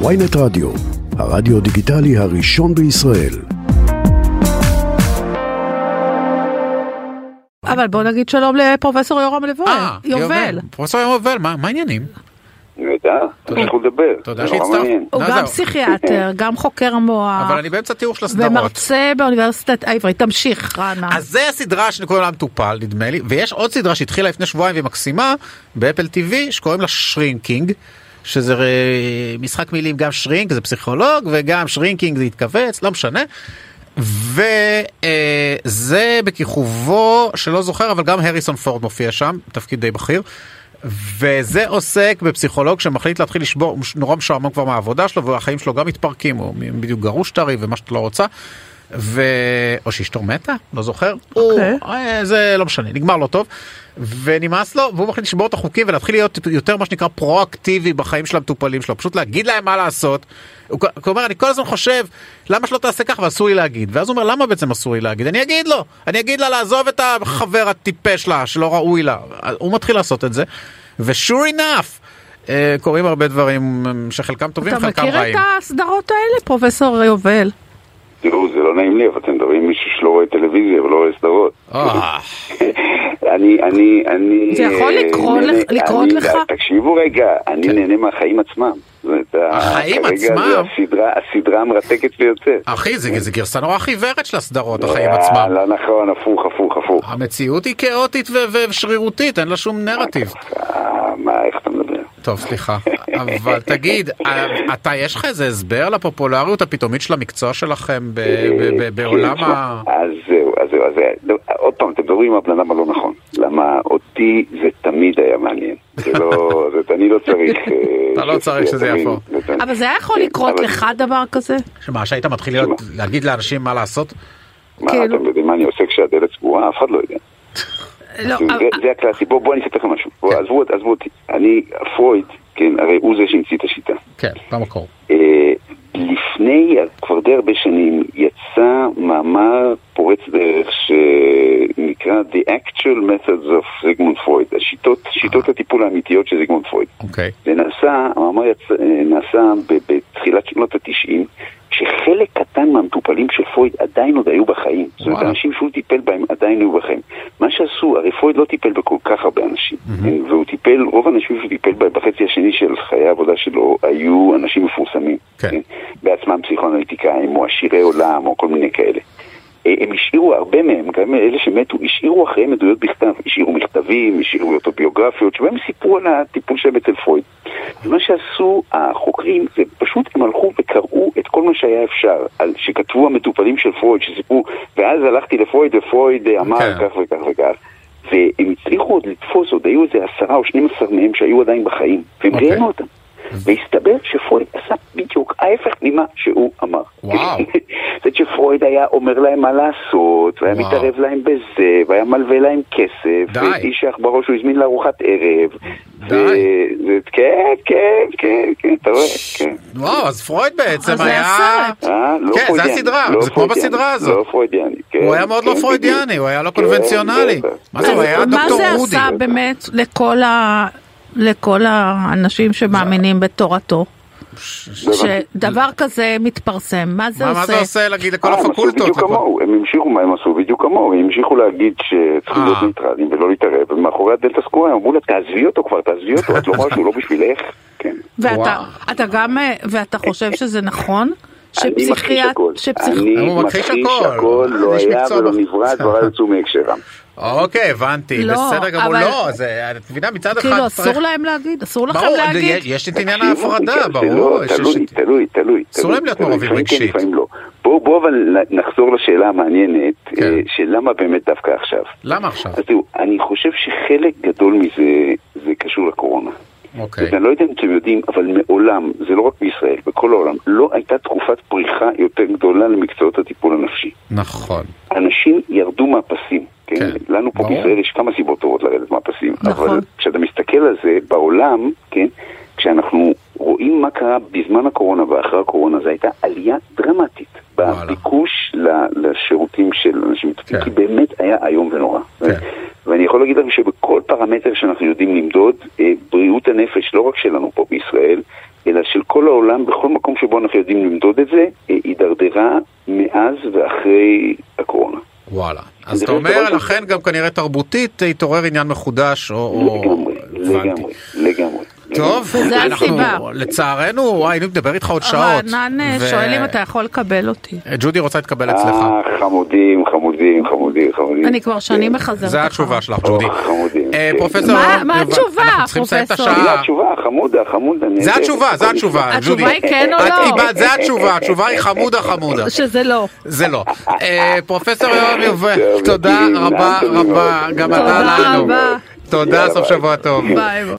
ויינט רדיו, הרדיו דיגיטלי הראשון בישראל. אבל בוא נגיד שלום לפרופסור יורם לבואל. אה, יובל. אה, פרופסור יובל, מה מה העניינים? בטח, תודה. תמשיכו לדבר. תודה זה נורא שהצטרפת. מעניין. הוא לא, גם זהו. פסיכיאטר, גם חוקר המוח, אבל אני באמצע תיאור של הסדרות. ומרצה באוניברסיטת העברית. תמשיך, רנה. אז זה הסדרה שכל העולם טופל נדמה לי ויש עוד סדרה שהתחילה לפני שבועיים והיא מקסימה באפל TV שקוראים לה שרינקינג. שזה אה, משחק מילים גם שרינק זה פסיכולוג וגם שרינקינג זה התכווץ לא משנה. וזה בכיכובו שלא זוכר אבל גם הריסון פורד מופיע שם תפקיד די בכיר. וזה עוסק בפסיכולוג שמחליט להתחיל לשבור, הוא נורא משועמם כבר מהעבודה שלו והחיים שלו גם מתפרקים, הוא בדיוק גרוש טרי ומה שאת לא רוצה. ו... או שאשתו מתה, לא זוכר. אוקיי. הוא, אה, זה לא משנה, נגמר לא טוב. ונמאס לו, והוא מחליט לשבור את החוקים ולהתחיל להיות יותר מה שנקרא פרואקטיבי בחיים של המטופלים שלו, פשוט להגיד להם מה לעשות. הוא כ- כלומר, אני כל הזמן חושב, למה שלא תעשה ככה ואסור לי להגיד? ואז הוא אומר, למה בעצם אסור לי להגיד? אני אגיד לו, אני אגיד לה לעזוב את החבר הטיפש לה, שלא ראוי לה. הוא מתחיל לעשות את זה, ו-sure enough, אה, קורים הרבה דברים אה, שחלקם טובים, אתה חלקם מכיר רעים. את הסדרות האלה, פרופסור יובל? תראו, זה לא נעים לי, אבל אתם מדברים עם מישהו שלא רואה טלוויזיה ולא רואה סדרות. אה, אני, אני, אני... זה יכול אה, לקרות נהנה- לך- לקרות אני- אה, לך? תקשיבו רגע, אני נהנה מהחיים עצמם. זאת אומרת, ה- כן. החיים כרגע עצמם? זה הסדרה, הסדרה המרתקת ביותר. אחי, זה זה גרסה נורא חיוורת של הסדרות, החיים אה, עצמם. לא נכון, הפוך, הפוך, הפוך. המציאות היא כאוטית ו- ו- ושרירותית, אין לה שום נרטיב. אה, מה, איך אתה מדבר? טוב, סליחה. אבל תגיד, אה, אתה, יש לך איזה הסבר לפופולריות הפתאומית של המקצוע שלכם ב- ב- ב- בעולם כן, ה... תשמע, אז זהו, אז זהו, אז זהו. עוד פעם, אתם מדברים עם הבן אדם הלא נכון. למה אותי זה תמיד היה מעניין. זה לא, זאת, אני לא צריך... אה, אתה לא צריך שזה אתה מבין? יהפוך. זאת אומרת, אבל זה היה יכול כן, לקרות אבל- לך דבר כזה? שמה, שהיית מתחיל להיות- להגיד לאנשים מה לעשות? מה, כאילו. אתם יודעים מה אני עושה כשהדלת סגורה? אף אחד לא יודע. לא, זה- אבל- זה הקלאסי. בואו אני אספר לכם משהו. בואו, כן. עזבו אות- עזבו אותי. אני, פרויד, כן, הרי הוא זה שהמציא את השיטה. כן, במקור. אה, לפני כבר די הרבה שנים יצא מאמר פורץ דרך שנקרא The Actual Methods of זיגמונד פרויד, השיטות, שיטות הטיפול האמיתיות של זיגמונד פרויד. אוקיי. זה נעשה, המאמר יצא, אה, נעשה ב- בתחילת שנות התשעים, כשחלק קטן מהמטופלים של פרויד עדיין עוד היו בחיים. זאת אומרת, וואלה. אנשים שהוא טיפל בהם עדיין היו בחיים. מה שעשו, הרי פרויד לא טיפל בכל כך הרבה אנשים, כן? והוא טיפל, רוב האנשים שהוא טיפל בהם בחצי השני של חיי העבודה שלו היו אנשים מפורסמים. אה, כן. בעצמם פסיכואנליטיקאים, או עשירי עולם, או כל מיני כאלה. אה, הם השאירו, הרבה מהם, גם אלה שמתו, השאירו אחריהם עדויות בכתב, השאירו מכתבים, השאירו אוטוביוגרפיות, שבהם סיפרו על הטיפול שלהם אצל פרויד. ומה שעשו החוקרים, זה פשוט הם הלכו וקראו את כל מה שהיה אפשר, על, שכתבו המטופלים של פרויד, שסיפרו, ואז הלכתי לפרויד, ופרויד אה, אמר כן. כך וכך וכך. והם הצליחו עוד לתפוס, עוד היו איזה עשרה או שנים עשר מהם שהיו עדיין בחיים, והם אוקיי. ראיינו אותם. והסתבר שפרויד עשה בדיוק ההפך ממה שהוא אמר. וואו. זה שפרויד היה אומר להם מה לעשות, והיה וואו. מתערב להם בזה, והיה מלווה להם כסף, די. ואיש אח בראש הוא הזמין לארוחת ערב. די. ו- זה- כן, כן, כן, כן, אתה רואה, כן. וואו, אז פרויד בעצם אז זה היה... הסרט. אה, לא כן, זה פרוידיאני, הסדרה, לא זה כמו פרוידיאני, בסדרה הזאת. לא פרוידיאני, כן. הוא היה מאוד לא כן, פרוידיאני, בדיוק. הוא היה לא קונבנציונלי. כן, מה זה, הוא אז היה מה דוקטור זה אודי. עשה באמת לכל ה- לכל האנשים שמאמינים בתורתו? שדבר כזה מתפרסם, מה זה מה מה זה עושה? עושה להגיד לכל אה, הם עשו הפקולטות? בדיוק לכל- כמוהו, הם המשיכו מה הם עשו, בדיוק כמוהו, הם המשיכו להגיד שצריכים אה. להיות ניטרלים ולא להתערב, ומאחורי הדלת הסגורה הם אמרו לה, תעזבי אותו כבר, תעזבי אותו, את לא רואה שהוא לא בשבילך? כן. ואתה וואו. אתה גם, אה, ואתה חושב שזה נכון? אני מכחיש הכל. שפסיכ... אני הוא מכחיש מכחיש הכל. הכל, לא אז יש היה מקצוע אה. ולא בח- נברא, דבריו יצאו מהקשרם. אוקיי, הבנתי, לא, בסדר גמור. אבל- לא, זה, את מבינה, מצד אחד כאילו צריך... אסור להם להגיד? אסור לכם ברור, להגיד? יש- יש את עניין תקשיבו, ההפרדה, זה ברור. לא, יש- יש- תלוי, תלוי, תלוי. אסור תלוי, להם להיות תלוי, מעורבים לפעמים כן, רגשית. לפעמים לא. בואו בואו אבל נחזור לשאלה המעניינת, כן. אה, של למה באמת דווקא עכשיו. למה עכשיו? אז תראו, אני חושב שחלק גדול מזה זה קשור לקורונה. אוקיי. אני לא יודע אם אתם יודעים, אבל מעולם, זה לא רק בישראל, בכל העולם, לא הייתה תקופת פריחה יותר גדולה למקצועות הטיפול הנפשי. נכון. אנשים ירדו מהפסים. כן? כן, כן. לנו פה ברור. בישראל יש כמה סיבות טובות לרדת מהפסים. נכון. אבל כשאתה מסתכל על זה בעולם, כן, כשאנחנו רואים מה קרה בזמן הקורונה ואחרי הקורונה, זו הייתה עלייה דרמטית וואלה. בביקוש ל- לשירותים של אנשים מטפלים, כן. כי באמת היה איום ונורא. כן. ואני יכול להגיד לכם שבכל פרמטר שאנחנו יודעים למדוד, אה, בריאות הנפש, לא רק שלנו פה בישראל, אלא של כל העולם, בכל מקום שבו אנחנו יודעים למדוד את זה, אה, הידרדרה מאז ואחרי הקורונה. וואלה. אז זה אתה לא אומר, דבר- לכן גם כנראה תרבותית אה, התעורר עניין מחודש, או... או- לגמרי, הבנתי. לגמרי, לגמרי. טוב, וזה אנחנו- הסיבה. לצערנו, וואי, אני מדבר איתך עוד שעות. רענן אה, ו- אה, שואל אם אתה יכול לקבל אותי. ג'ודי רוצה להתקבל אצלך. אה, חמודים, חמודים, חמודים, חמודים. כן. אני כבר שנים מחזרת זו לך. התשובה שלך, או, ג'ודי. חמודים. אה, כן. לא פרופסור... מה- מה יובל, התשובה, אנחנו צריכים לסיים את פרופסור? הנה השעה. התשובה, חמודה, חמודה. אני- זה התשובה, זה התשובה, ג'ודי. התשובה היא כן או את לא? קיבלת, זה התשובה, התשובה היא חמודה חמודה. שזה לא. זה לא. אה, פרופסור יואב יובל, טוב, תודה נעים, רבה נעים רבה, מאוד. גם תודה אתה לנו. רבה. תודה, יאללה, סוף ביי. שבוע טוב. ביי.